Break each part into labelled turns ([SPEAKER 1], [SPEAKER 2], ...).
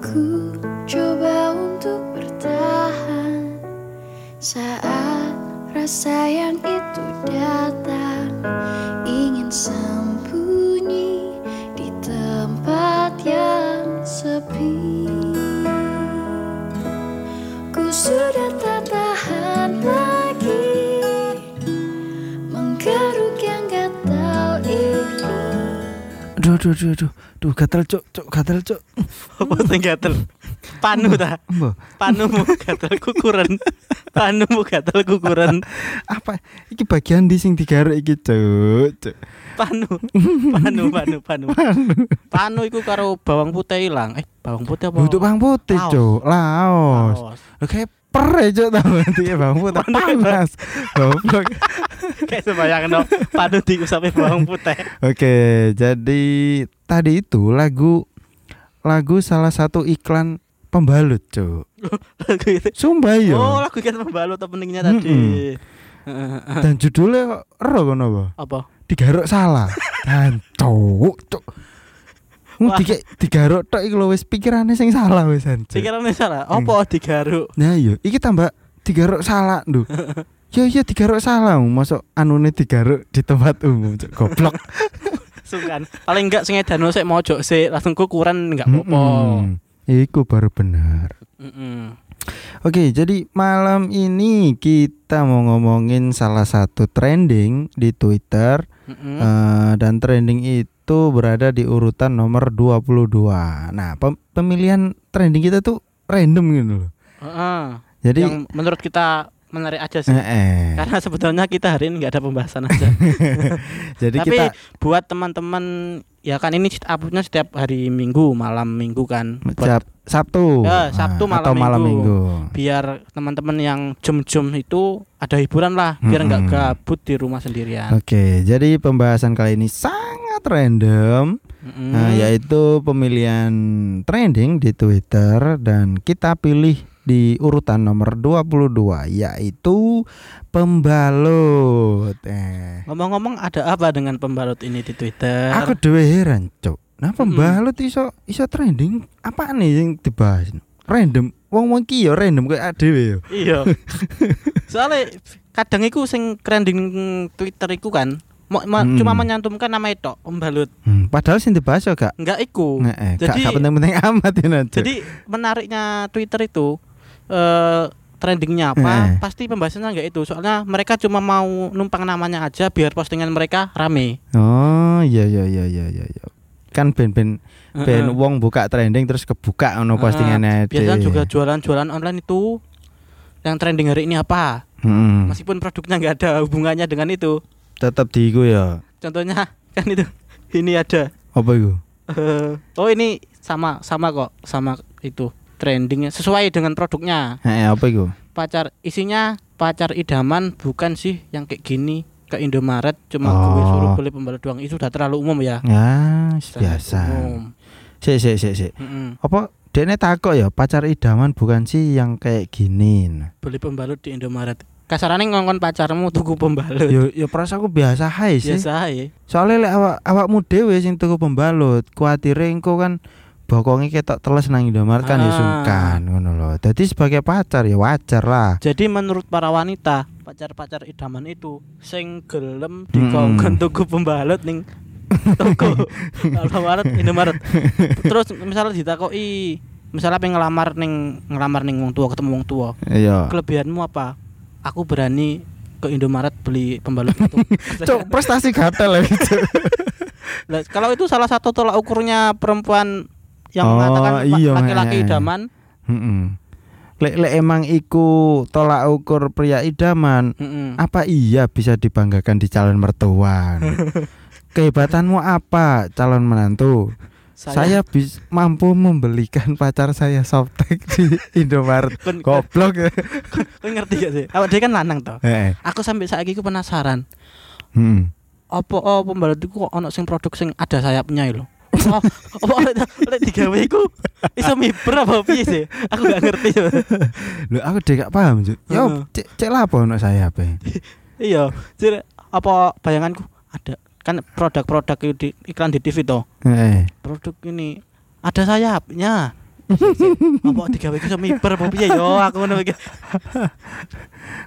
[SPEAKER 1] Ku coba untuk bertahan saat rasa yang itu datang Ingin sembunyi di tempat yang sepi Ku sudah tak tahan lagi Menggeruk yang gatal ini
[SPEAKER 2] Aduh, aduh, aduh, aduh, Duh, gatel cuk, cuk, gatel cuk.
[SPEAKER 3] Apa sing gatel? Panu ta?
[SPEAKER 2] Mbah,
[SPEAKER 3] Panumu gatel kukuran. Panumu gatel kukuran.
[SPEAKER 2] apa iki bagian di sing digaruk iki cuk, cuk.
[SPEAKER 3] Panu. Panu, panu, panu. Panu iku karo bawang putih ilang. Eh, bawang putih apa?
[SPEAKER 2] Butuh bawang putih
[SPEAKER 3] Laos.
[SPEAKER 2] cuk, laos.
[SPEAKER 3] Laos.
[SPEAKER 2] Lho kayak per ya, cuk tahu nanti bawang putih
[SPEAKER 3] Mana ya, Pak?
[SPEAKER 2] panas. Goblok.
[SPEAKER 3] Kayak sembayang no. Panu diusapi bawang putih.
[SPEAKER 2] Oke, jadi tadi itu lagu lagu salah satu iklan pembalut, cuk.
[SPEAKER 3] Lagu itu.
[SPEAKER 2] Sumpah ya.
[SPEAKER 3] Oh, lagu ikan pembalut atau pentingnya tadi. Heeh.
[SPEAKER 2] Dan judulnya kok ero kono apa?
[SPEAKER 3] Apa?
[SPEAKER 2] digaruk salah dan cuk cuk Mu
[SPEAKER 3] Wah.
[SPEAKER 2] dike digaruk tok iki lho wis pikirane sing salah wis anjir.
[SPEAKER 3] Pikirannya salah. Apa digaruk?
[SPEAKER 2] Nah iya, iki tambah digaruk salah nduh. Ya iya digaruk salah, masuk anune digaruk di tempat umum cuk goblok.
[SPEAKER 3] Sungkan. Paling enggak sing edano sik mojok sik langsung kukuran enggak apa-apa.
[SPEAKER 2] Mm-mm. Iku baru benar.
[SPEAKER 3] Heeh.
[SPEAKER 2] Oke, jadi malam ini kita mau ngomongin salah satu trending di Twitter
[SPEAKER 3] Heeh.
[SPEAKER 2] Eh, dan trending itu berada di urutan nomor 22. Nah, pem- pemilihan trending kita tuh random gitu loh.
[SPEAKER 3] Heeh.
[SPEAKER 2] Jadi
[SPEAKER 3] yang Kan? menurut kita menarik aja sih.
[SPEAKER 2] eh, eh.
[SPEAKER 3] Karena sebetulnya kita hari ini nggak ada pembahasan aja.
[SPEAKER 2] jadi
[SPEAKER 3] Tapi
[SPEAKER 2] kita
[SPEAKER 3] buat teman-teman ya kan ini uploadnya setiap hari Minggu malam Minggu kan. Buat,
[SPEAKER 2] Sab- Sabtu
[SPEAKER 3] Ya, Sabtu
[SPEAKER 2] ah,
[SPEAKER 3] malam
[SPEAKER 2] atau malam
[SPEAKER 3] Minggu.
[SPEAKER 2] Minggu.
[SPEAKER 3] biar teman-teman yang jum-jum itu ada hiburan lah, biar nggak
[SPEAKER 2] Mm-mm.
[SPEAKER 3] gabut di rumah sendirian.
[SPEAKER 2] Oke, jadi pembahasan kali ini sangat random
[SPEAKER 3] Mm-mm.
[SPEAKER 2] Nah, yaitu pemilihan trending di Twitter dan kita pilih di urutan nomor 22 yaitu pembalut. Eh.
[SPEAKER 3] Ngomong-ngomong ada apa dengan pembalut ini di Twitter?
[SPEAKER 2] Aku dhewe heran, Cuk. Nah,
[SPEAKER 3] Mm-mm.
[SPEAKER 2] pembalut iso iso trending apa nih yang dibahas? Random. Wong-wong ki ya random kayak dhewe ya.
[SPEAKER 3] Iya. Soalnya kadang iku sing trending Twitter iku kan mo- mo-
[SPEAKER 2] Mm.
[SPEAKER 3] cuma menyantumkan nama itu pembalut.
[SPEAKER 2] Hmm, padahal sing dibahas ya gak
[SPEAKER 3] Enggak iku.
[SPEAKER 2] nggak eh, gak,
[SPEAKER 3] Oh, Jadi-
[SPEAKER 2] gak penting-penting amat ya Cuk.
[SPEAKER 3] Jadi menariknya Twitter itu eh trendingnya apa?
[SPEAKER 2] Eh.
[SPEAKER 3] Pasti pembahasannya nggak itu. Soalnya mereka cuma mau numpang namanya aja biar postingan mereka rame.
[SPEAKER 2] Oh, iya iya iya iya iya. iya. Kan ben-ben ben
[SPEAKER 3] Heeh.
[SPEAKER 2] wong buka trending terus kebuka ono
[SPEAKER 3] Heeh.
[SPEAKER 2] postingannya
[SPEAKER 3] Biasanya
[SPEAKER 2] deh.
[SPEAKER 3] juga jualan-jualan online itu yang trending hari ini apa?
[SPEAKER 2] Hmm,
[SPEAKER 3] Meskipun produknya nggak ada hubungannya dengan itu.
[SPEAKER 2] tetep di iku ya.
[SPEAKER 3] Contohnya kan itu ini ada.
[SPEAKER 2] Apa iku?
[SPEAKER 3] eh, oh ini sama sama kok sama itu trendingnya sesuai dengan produknya.
[SPEAKER 2] Eh, apa iku?
[SPEAKER 3] pacar isinya pacar idaman bukan sih yang kayak gini ke Indomaret cuma
[SPEAKER 2] Oh.
[SPEAKER 3] gue suruh beli pembalut doang itu udah terlalu umum ya
[SPEAKER 2] Ya,
[SPEAKER 3] Terlalu
[SPEAKER 2] biasa.
[SPEAKER 3] umum.
[SPEAKER 2] Sik sik sik sik.
[SPEAKER 3] Mm-mm.
[SPEAKER 2] apa dene takok ya pacar idaman bukan sih yang kayak gini
[SPEAKER 3] beli pembalut di Indomaret kasarannya ngongkon pacarmu tuku pembalut
[SPEAKER 2] yo yo perasa aku biasa ae sih
[SPEAKER 3] biasa ya
[SPEAKER 2] soalnya lek awak awakmu dhewe sing tuku pembalut kuatire engko kan bokonge ketok teles nang Indomaret kan
[SPEAKER 3] Ah.
[SPEAKER 2] disungkan ngono lho dadi sebagai pacar ya wajar lah
[SPEAKER 3] jadi menurut para wanita pacar-pacar idaman itu sing gelem
[SPEAKER 2] Mm-mm.
[SPEAKER 3] dikongkon tuku pembalut ning toko Alfamaret Indomaret terus misalnya ditakoki misalnya pengen ngelamar ning ngelamar ning wong tua ketemu wong tua
[SPEAKER 2] iya
[SPEAKER 3] kelebihanmu apa? Aku berani ke Indomaret beli pembalut itu.
[SPEAKER 2] Cuk, prestasi gatel ya gitu.
[SPEAKER 3] Lah, kalau itu salah satu tolak ukurnya perempuan yang
[SPEAKER 2] Oh,
[SPEAKER 3] mengatakan "Ma-
[SPEAKER 2] iya,
[SPEAKER 3] laki-laki
[SPEAKER 2] eh.
[SPEAKER 3] idaman,
[SPEAKER 2] Mm-mm. Lek lek emang iku tolak ukur pria idaman,
[SPEAKER 3] Mm-mm.
[SPEAKER 2] apa iya bisa dibanggakan di calon mertua? Kehebatanmu apa calon menantu? Saya, bis- mampu membelikan pacar saya softtek di Indomaret.
[SPEAKER 3] Kon- kon-
[SPEAKER 2] Goblok ya.
[SPEAKER 3] kon ngerti gak sih? Awak dia kan lanang toh.
[SPEAKER 2] Eh, eh.
[SPEAKER 3] Aku sampai saat ini ku penasaran.
[SPEAKER 2] Mm.
[SPEAKER 3] Apa oh pembalut itu kok ono sing produk sing ada sayapnya itu? Oh, apa oleh oleh digawe iku iso miber apa piye sih? Aku gak ngerti.
[SPEAKER 2] Lho aku dek gak paham, Cuk.
[SPEAKER 3] Heeh.
[SPEAKER 2] Yo, cek cek lah apa ono saya apa.
[SPEAKER 3] Iya, jadi apa bayanganku ada kan produk-produk itu di- iklan di TV toh.
[SPEAKER 2] Eh.
[SPEAKER 3] produk ini ada sayapnya Iya, Apa digawe iku iso miber apa piye yo aku ngono iki.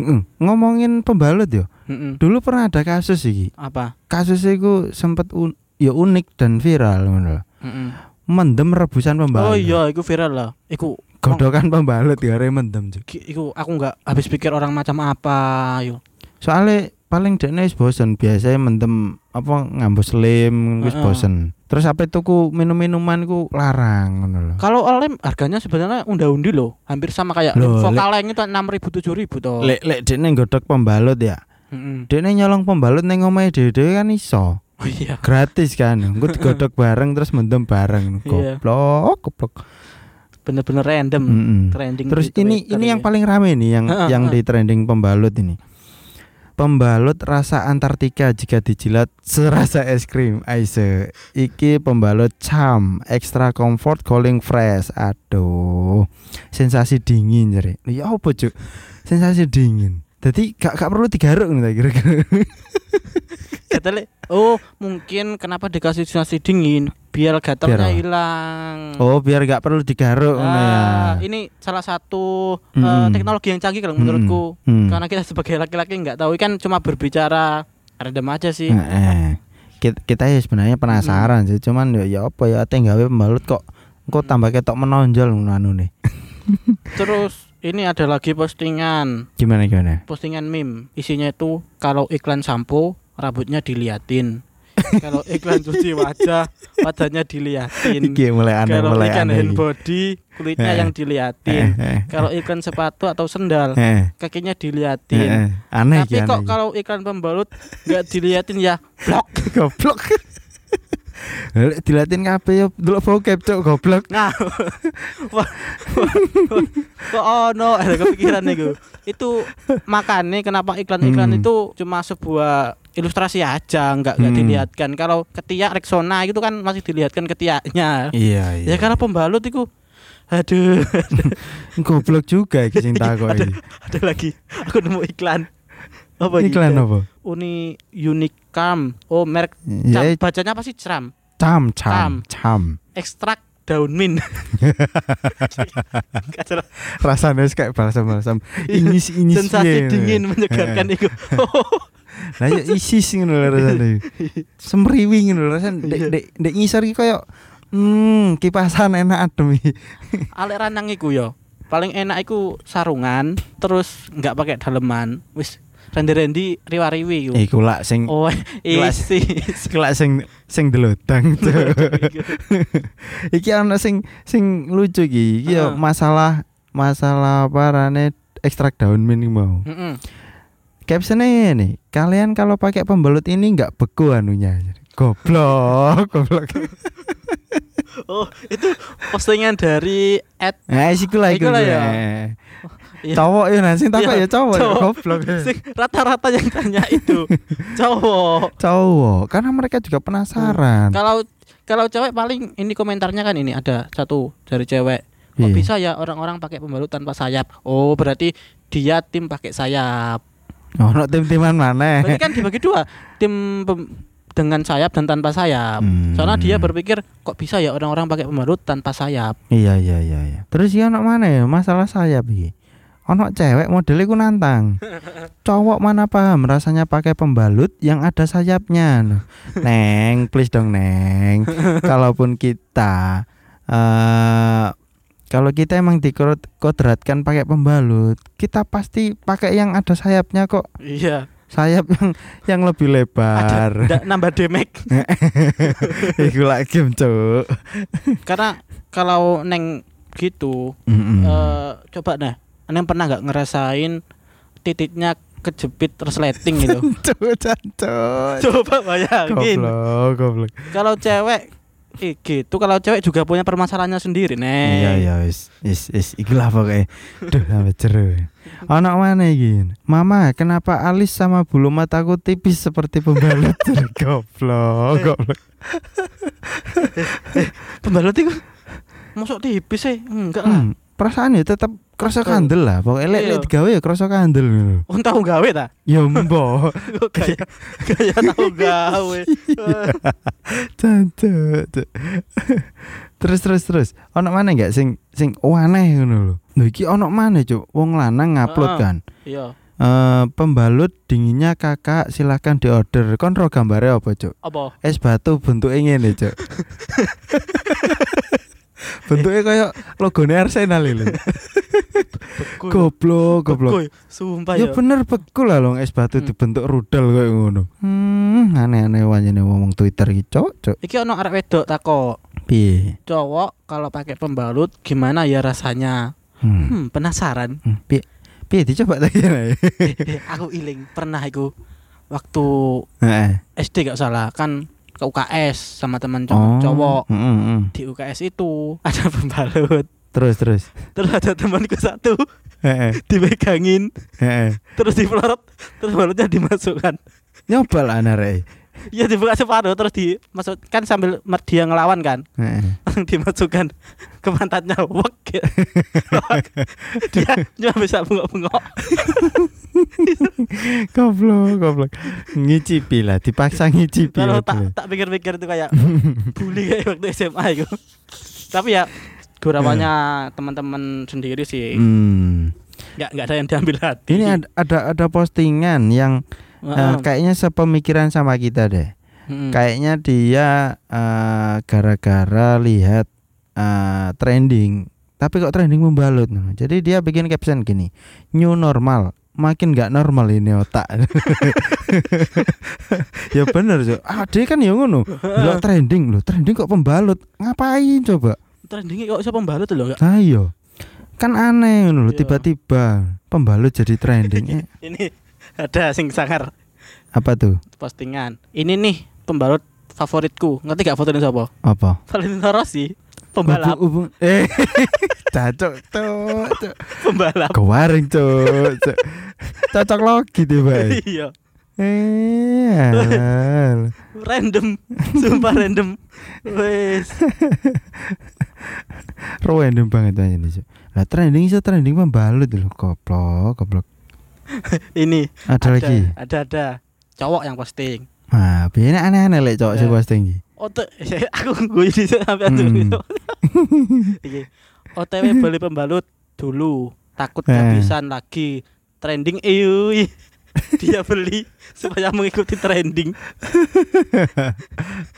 [SPEAKER 2] Mm, ngomongin pembalut yo
[SPEAKER 3] Heeh.
[SPEAKER 2] dulu pernah ada kasus iki
[SPEAKER 3] Apa?
[SPEAKER 2] kasus iku sempat un ya unik dan viral ngono lho.
[SPEAKER 3] Heeh.
[SPEAKER 2] mendem rebusan pembalut
[SPEAKER 3] Oh iya, iku viral lah. Iku
[SPEAKER 2] godokan pembalut ya arek mendem Cuk.
[SPEAKER 3] ki- iku aku nggak habis pikir orang macam apa yo.
[SPEAKER 2] soalnya paling dekne wis bosen biasanya mendem apa ngambus lem wis
[SPEAKER 3] Heeh.
[SPEAKER 2] bosen terus apa tuku minum-minuman ku larang ngono lho
[SPEAKER 3] Kalau lem harganya sebenarnya unda-undi loh, hampir sama kayak
[SPEAKER 2] Loh, lek-
[SPEAKER 3] lem vokal yang itu 6.000 7.000 toh.
[SPEAKER 2] lek lek dekne godhok pembalut ya
[SPEAKER 3] Heeh.
[SPEAKER 2] dekne nyolong pembalut ning omahe dhewe kan iso
[SPEAKER 3] Oh iya.
[SPEAKER 2] gratis kan engko digodhok bareng terus mendem bareng
[SPEAKER 3] Iya. Hmm.
[SPEAKER 2] goblok goblok
[SPEAKER 3] Bener-bener random
[SPEAKER 2] Mm-mm.
[SPEAKER 3] trending.
[SPEAKER 2] Mm. terus
[SPEAKER 3] di
[SPEAKER 2] ini
[SPEAKER 3] Twitter
[SPEAKER 2] ini yang
[SPEAKER 3] ya.
[SPEAKER 2] paling rame nih yang
[SPEAKER 3] Heeh,
[SPEAKER 2] yang
[SPEAKER 3] heeh.
[SPEAKER 2] di trending pembalut ini pembalut rasa Antartika jika dijilat serasa es krim Aise iki pembalut cam extra comfort calling fresh aduh sensasi dingin jadi ya apa cuk sensasi dingin jadi gak, gak perlu digaruk nih tak kira-kira
[SPEAKER 3] Hmm. Gatel- Oh, mungkin kenapa dikasih sensasi dingin? Biar
[SPEAKER 2] Biar
[SPEAKER 3] gatalnya
[SPEAKER 2] apa?
[SPEAKER 3] hilang.
[SPEAKER 2] oh biar gak perlu digaruk ngono ya
[SPEAKER 3] Ah, ini salah satu eh,
[SPEAKER 2] Mm-mm.
[SPEAKER 3] teknologi yang canggih kalau
[SPEAKER 2] Mm-mm.
[SPEAKER 3] menurutku. kan
[SPEAKER 2] Hmm.
[SPEAKER 3] Karena kita sebagai laki-laki nggak tahu kan cuma berbicara random aja sih.
[SPEAKER 2] Heeh. Kita, kita ya sebenarnya
[SPEAKER 3] Hmm.
[SPEAKER 2] penasaran sih, cuman ya, ya apa ya ate gawe pembalut kok kok tambah ketok menonjol ngono anu nih.
[SPEAKER 3] Terus ini ada lagi postingan,
[SPEAKER 2] Gimana gimana?
[SPEAKER 3] postingan meme. Isinya itu kalau iklan sampo rambutnya diliatin. kalau iklan cuci wajah wajahnya diliatin.
[SPEAKER 2] Iki mulai aneh
[SPEAKER 3] Kalau
[SPEAKER 2] mulai
[SPEAKER 3] iklan
[SPEAKER 2] aneh.
[SPEAKER 3] hand
[SPEAKER 2] iki.
[SPEAKER 3] body kulitnya
[SPEAKER 2] Eh.
[SPEAKER 3] yang
[SPEAKER 2] Heeh,
[SPEAKER 3] diliatin.
[SPEAKER 2] heeh,
[SPEAKER 3] Kalau iklan sepatu atau sendal
[SPEAKER 2] heeh,
[SPEAKER 3] kakinya
[SPEAKER 2] heeh,
[SPEAKER 3] diliatin.
[SPEAKER 2] heeh. eh, Aneh Nah.
[SPEAKER 3] Tapi
[SPEAKER 2] iki, aneh
[SPEAKER 3] kok
[SPEAKER 2] iki.
[SPEAKER 3] kalau iklan pembalut nggak diliatin ya blok.
[SPEAKER 2] goblok. Lek dilatin kabeh yo delok bokep cok goblok.
[SPEAKER 3] Nah, wah, wah, wah, kok ono ada kepikiran nih Itu makanya kenapa iklan-iklan
[SPEAKER 2] Hmm.
[SPEAKER 3] itu cuma sebuah ilustrasi aja, nggak nggak
[SPEAKER 2] Hmm.
[SPEAKER 3] dilihatkan. Kalau ketiak Rexona itu kan masih dilihatkan ketiaknya.
[SPEAKER 2] Iya iya.
[SPEAKER 3] Ya karena pembalut itu Aduh,
[SPEAKER 2] goblok juga iki sing takok
[SPEAKER 3] Iya, ada,
[SPEAKER 2] iki.
[SPEAKER 3] ada lagi. Aku nemu iklan. Apa iki?
[SPEAKER 2] Iklan apa?
[SPEAKER 3] Uni Unicam. Oh, merek
[SPEAKER 2] Ya
[SPEAKER 3] Cam. Bacanya apa sih Cram?
[SPEAKER 2] cam cam cam.
[SPEAKER 3] Ekstrak daun mint. Gak jelas.
[SPEAKER 2] Rasanya wis kayak balsam-balsam. Ini ini
[SPEAKER 3] Iya, sensasi dingin menyegarkan Oh. itu
[SPEAKER 2] Lah yo isis ngono lho rasane. Semriwing ngono lho rasane dek
[SPEAKER 3] Iya.
[SPEAKER 2] dek dek ngisor iki koyo hmm kipasan enak adem iki.
[SPEAKER 3] alek ranang iku yo paling enak iku sarungan terus nggak pakai daleman wis rendi-rendi riwa-riwi iku
[SPEAKER 2] Iku lak sing
[SPEAKER 3] oh
[SPEAKER 2] kelas.
[SPEAKER 3] isi
[SPEAKER 2] iku lak sing sing delodang.
[SPEAKER 3] Iya.
[SPEAKER 2] iki ana sing sing lucu iki. Iki yo
[SPEAKER 3] Heeh.
[SPEAKER 2] masalah masalah parane ekstrak daun mint iki mau.
[SPEAKER 3] Mm-mm.
[SPEAKER 2] Captionnya nih, kalian kalau pakai pembelut ini nggak beku anunya. Goblok, goblok.
[SPEAKER 3] oh itu postingan dari at
[SPEAKER 2] Nah, isiku lah iku.
[SPEAKER 3] Iku lah ya.
[SPEAKER 2] Eh.
[SPEAKER 3] Iya.
[SPEAKER 2] Cowok ya nasi takut ya
[SPEAKER 3] Iya,
[SPEAKER 2] cowok, ya,
[SPEAKER 3] cowok.
[SPEAKER 2] goblok.
[SPEAKER 3] sing rata-rata yang tanya itu cowok
[SPEAKER 2] Kan. cowok karena mereka juga
[SPEAKER 3] Hmm.
[SPEAKER 2] penasaran
[SPEAKER 3] kalau kalau cewek paling ini komentarnya kan ini ada satu dari cewek Kok
[SPEAKER 2] Iya.
[SPEAKER 3] bisa ya orang-orang pakai pembalut tanpa sayap? Oh, berarti dia tim pakai sayap.
[SPEAKER 2] Oh, ono tim-timan mana
[SPEAKER 3] Berarti kan dibagi dua, tim pem- dengan sayap dan tanpa sayap.
[SPEAKER 2] Hmm.
[SPEAKER 3] kan? Soalnya dia berpikir kok bisa ya orang-orang pakai pembalut tanpa sayap.
[SPEAKER 2] iya iya iya iya terus ya ono mana ya masalah sayap iki ono cewek modelnya ku nantang cowok mana paham rasanya pakai pembalut yang ada sayapnya Nah, neng please dong neng kalaupun kita eh kalau kita emang dikodratkan pakai pembalut kita pasti pakai yang ada sayapnya kok
[SPEAKER 3] Iya.
[SPEAKER 2] sayap yang yang lebih lebar
[SPEAKER 3] Nggak nambah demek.
[SPEAKER 2] Iku lak game cuk.
[SPEAKER 3] Karena kalau neng gitu
[SPEAKER 2] Hmm.
[SPEAKER 3] eh coba nah, neng pernah nggak ngerasain titiknya kejepit resleting gitu.
[SPEAKER 2] Cuk cuk.
[SPEAKER 3] coba bayangin.
[SPEAKER 2] Goblok, goblok.
[SPEAKER 3] Kalau cewek eh, gitu kalau cewek juga punya permasalahannya sendiri, Neng.
[SPEAKER 2] Iya ya wis wis wis iku lah pokoke. Duh sampe jero. Ono mana iki? Mama, kenapa alis sama bulu mataku tipis seperti pembalut? goblok, goblok.
[SPEAKER 3] Pembalut itu masuk tipis sih? Enggak lah.
[SPEAKER 2] Hmm, perasaan ya tetep krasa kandel lah pokoknya lek
[SPEAKER 3] Iya.
[SPEAKER 2] lek digawe ya krasa kandel ngono.
[SPEAKER 3] Kon tau gawe ta?
[SPEAKER 2] ya mbok
[SPEAKER 3] Kok Kayak
[SPEAKER 2] Iya.
[SPEAKER 3] kayak tau gawe.
[SPEAKER 2] Tante. terus terus terus. Ono mana nggak sing sing oh, aneh ngono lho. Lho iki ono mana cuk? Wong lanang ngupload
[SPEAKER 3] Heeh.
[SPEAKER 2] kan.
[SPEAKER 3] Iya.
[SPEAKER 2] Eh pembalut dinginnya kakak silahkan diorder. Kon ro gambare apa cuk?
[SPEAKER 3] Apa?
[SPEAKER 2] Es batu bentuknya ngene cuk. bentuknya kayak logone Arsenal lho.
[SPEAKER 3] Beku.
[SPEAKER 2] Goblok,
[SPEAKER 3] Beku,
[SPEAKER 2] goblok.
[SPEAKER 3] Sumpah
[SPEAKER 2] Ya
[SPEAKER 3] ya.
[SPEAKER 2] bener beku lah lho es batu
[SPEAKER 3] Hmm.
[SPEAKER 2] dibentuk rudal kayak ngono. Hmm, aneh-aneh wanyane ngomong Twitter iki cuk, cuk.
[SPEAKER 3] Iki ono arek wedok takok,
[SPEAKER 2] Piye?
[SPEAKER 3] cowok kalau pakai pembalut gimana ya rasanya?
[SPEAKER 2] Hmm.
[SPEAKER 3] Hmm, penasaran.
[SPEAKER 2] Hmm, Piye piye dicoba lagi ya.
[SPEAKER 3] Eh, aku iling pernah aku waktu
[SPEAKER 2] Heeh.
[SPEAKER 3] SD gak salah kan ke UKS sama teman
[SPEAKER 2] Oh.
[SPEAKER 3] cowok, cowok.
[SPEAKER 2] Mm, mm, mm.
[SPEAKER 3] di UKS itu ada pembalut
[SPEAKER 2] Terus terus.
[SPEAKER 3] terus ada temanku satu
[SPEAKER 2] Heeh.
[SPEAKER 3] dipegangin
[SPEAKER 2] Heeh.
[SPEAKER 3] terus dipelorot terus balutnya dimasukkan
[SPEAKER 2] Nyoba lah narek.
[SPEAKER 3] ya dibuka separuh terus dimasuk kan sambil mer- dia ngelawan kan
[SPEAKER 2] Heeh.
[SPEAKER 3] langsung dimasukkan ke pantatnya wek gitu. Wek. dia cuma bisa bengok-bengok
[SPEAKER 2] Goblok, goblok. Ngicipi lah, dipaksa ngicipi.
[SPEAKER 3] kalau
[SPEAKER 2] lah
[SPEAKER 3] tak
[SPEAKER 2] dulu.
[SPEAKER 3] tak pikir-pikir itu kayak bully kayak waktu SMA itu tapi ya gurawannya teman-teman sendiri sih
[SPEAKER 2] Iya. Hmm.
[SPEAKER 3] nggak nggak ada yang diambil hati
[SPEAKER 2] Ini ada, ada ada postingan yang eh,
[SPEAKER 3] Heeh. Hmm.
[SPEAKER 2] kayaknya sepemikiran sama kita deh.
[SPEAKER 3] Mm-mm.
[SPEAKER 2] Kayaknya dia eh, gara-gara lihat eh, trending, tapi kok trending membalut. Jadi dia bikin caption gini, new normal, makin nggak normal ini otak. ya bener Cuk. Ah, dia kan yang ngono. Delok trending loh, trending kok pembalut. Ngapain coba?
[SPEAKER 3] trendingnya kok siapa pembalut loh nggak
[SPEAKER 2] Nah, iya. Kan aneh loh,
[SPEAKER 3] Iya.
[SPEAKER 2] tiba-tiba pembalut jadi trending. Eh,
[SPEAKER 3] ini ada sing sangar
[SPEAKER 2] apa tuh?
[SPEAKER 3] postingan ini nih pembalut favoritku ngerti gak fotonya siapa
[SPEAKER 2] Apa?
[SPEAKER 3] Valentino Rossi pembalap
[SPEAKER 2] Ubu- ubu- Eh, cocok tuh. Cuk.
[SPEAKER 3] pembalap
[SPEAKER 2] Kewaring cuk. Cuk. Cocok logi tiba.
[SPEAKER 3] iya
[SPEAKER 2] Eh. alah.
[SPEAKER 3] random sumpah random wes
[SPEAKER 2] Random banget aja nih. Cuk. Lah trending sih trending membalut loh goblok, goblok.
[SPEAKER 3] ini
[SPEAKER 2] Ada lagi.
[SPEAKER 3] ada ada cowok yang posting
[SPEAKER 2] Nah, biyen aneh-aneh lek cowok sing
[SPEAKER 3] Ya.
[SPEAKER 2] posting iki.
[SPEAKER 3] Ote, aku gue di sampai atur
[SPEAKER 2] Hmm.
[SPEAKER 3] gitu. Iki. OTW beli pembalut dulu, takut
[SPEAKER 2] Eh.
[SPEAKER 3] kehabisan lagi. Trending eui. Dia beli supaya mengikuti trending.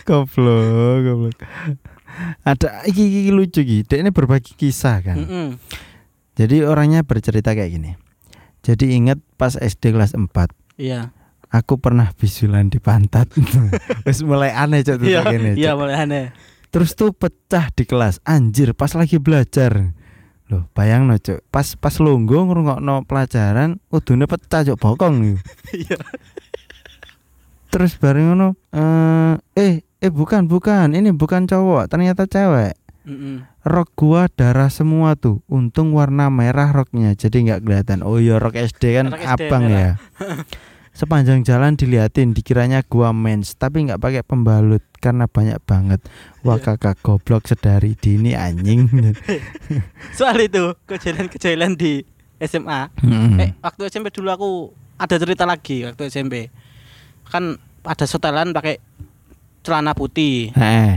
[SPEAKER 2] Goblok, goblok. Ada iki, iki lucu iki. Dek ini berbagi kisah kan.
[SPEAKER 3] Mm-mm.
[SPEAKER 2] Jadi orangnya bercerita kayak gini. Jadi inget pas SD kelas 4
[SPEAKER 3] Iya.
[SPEAKER 2] Aku pernah bisulan di pantat. Wis mulai aneh cok tuh
[SPEAKER 3] Iya,
[SPEAKER 2] kayak gini, Cok.
[SPEAKER 3] iya mulai aneh.
[SPEAKER 2] Terus tuh pecah di kelas. Anjir, pas lagi belajar. Loh, bayang no cok. Pas pas longgo ngrungokno pelajaran, udune pecah cok bokong.
[SPEAKER 3] Iya.
[SPEAKER 2] Terus bareng ngono, eh, eh eh bukan bukan, ini bukan cowok, ternyata cewek.
[SPEAKER 3] Mm-mm.
[SPEAKER 2] Rok gua darah semua tuh. Untung warna merah roknya, jadi nggak kelihatan. Oh iya rok SD kan
[SPEAKER 3] Rok SD
[SPEAKER 2] abang
[SPEAKER 3] merah.
[SPEAKER 2] ya. Sepanjang jalan diliatin, dikiranya gua mens, tapi nggak pakai pembalut karena banyak banget. Wah
[SPEAKER 3] Iya.
[SPEAKER 2] kakak goblok sedari dini anjing.
[SPEAKER 3] Soal itu kejadian-kejadian di SMA.
[SPEAKER 2] Hmm.
[SPEAKER 3] Eh, waktu SMP dulu aku ada cerita lagi waktu SMP. Kan ada setelan pakai celana putih.
[SPEAKER 2] Heeh.
[SPEAKER 3] Eh,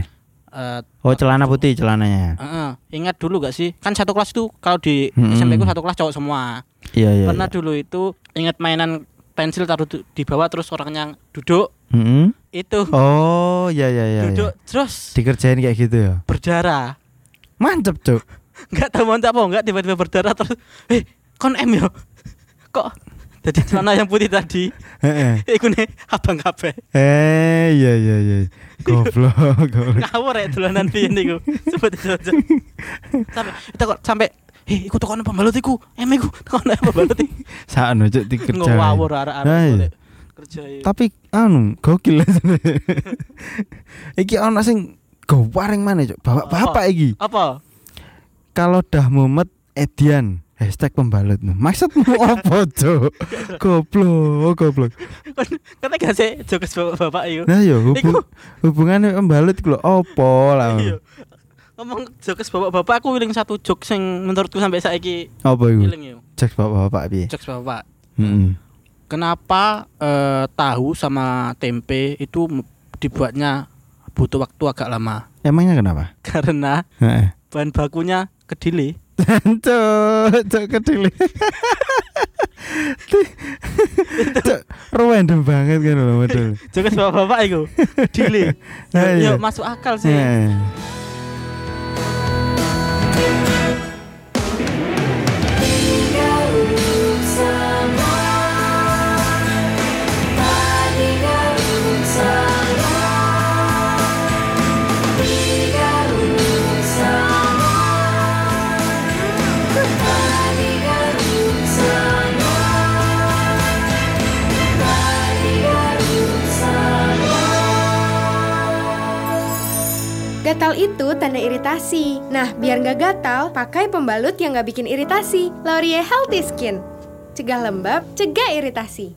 [SPEAKER 2] Oh celana putih celananya.
[SPEAKER 3] Heeh, ingat dulu gak sih? Kan satu kelas itu kalau di
[SPEAKER 2] Mm-mm.
[SPEAKER 3] SMP ku satu kelas cowok semua.
[SPEAKER 2] Hmm. Iya iya.
[SPEAKER 3] Pernah dulu itu ingat mainan pensil taruh du- di bawah terus orang yang duduk
[SPEAKER 2] Mm-mm.
[SPEAKER 3] itu
[SPEAKER 2] Mm-hmm. Oh iya iya iya. iya.
[SPEAKER 3] duduk terus
[SPEAKER 2] Dikerjain kayak gitu ya.
[SPEAKER 3] berdarah.
[SPEAKER 2] Mantep cuk.
[SPEAKER 3] Enggak tahu mau apa enggak tiba-tiba berdarah terus eh kon M yo. Kok jadi celana yang putih tadi
[SPEAKER 2] Heeh.
[SPEAKER 3] iku nih abang kabeh.
[SPEAKER 2] Eh iya iya iya. Goblok goblok.
[SPEAKER 3] Ngawur ya dolanan piye niku. Sebut aja. Sampai kita kok sampai eh iku tekan pembalut iku. M iku tekan pembalut iku.
[SPEAKER 2] Sakno cuk dikerjain.
[SPEAKER 3] Ngawur arek-arek
[SPEAKER 2] Nah,
[SPEAKER 3] iku,
[SPEAKER 2] iya.
[SPEAKER 3] Dek. kerja iku.
[SPEAKER 2] tapi anu gokil asli. iki ana sing gowaring mana cok bapak bapak iki
[SPEAKER 3] apa
[SPEAKER 2] kalau dah mumet Edian hashtag pembalut maksudmu apa cok goblok goblok
[SPEAKER 3] kata Kan gak sih jokes bapak bapak iyo
[SPEAKER 2] nah yo
[SPEAKER 3] Iku.
[SPEAKER 2] oh. hubung, hubungannya pembalut iku lho apa lah
[SPEAKER 3] iyo Iya. ngomong jokes bapak-bapak aku wiling satu jok sing menurutku sampai saiki
[SPEAKER 2] Apa iku?
[SPEAKER 3] wiling yo.
[SPEAKER 2] Cek bapak-bapak piye?
[SPEAKER 3] Jokes bapak.
[SPEAKER 2] Heeh.
[SPEAKER 3] Kenapa eh, tahu sama tempe itu m- dibuatnya butuh waktu agak lama?
[SPEAKER 2] Emangnya kenapa?
[SPEAKER 3] Karena
[SPEAKER 2] Heeh.
[SPEAKER 3] bahan bakunya kedele.
[SPEAKER 2] Cuk, cuk kedele. Cuk, random banget kan lho model.
[SPEAKER 3] Jokes bapak-bapak itu kedele. Yo,
[SPEAKER 2] Nah,
[SPEAKER 3] yo,
[SPEAKER 2] iya.
[SPEAKER 3] masuk akal sih.
[SPEAKER 2] Heeh.
[SPEAKER 1] Gaung semua, tadi gaung semua, gaung semua, tadi gaung semua, tadi gaung semua.
[SPEAKER 4] Gatal itu tanda iritasi. Nah, biar nggak gatal, pakai pembalut yang nggak bikin iritasi. Laurier Healthy Skin. Cegah lembab, cegah iritasi.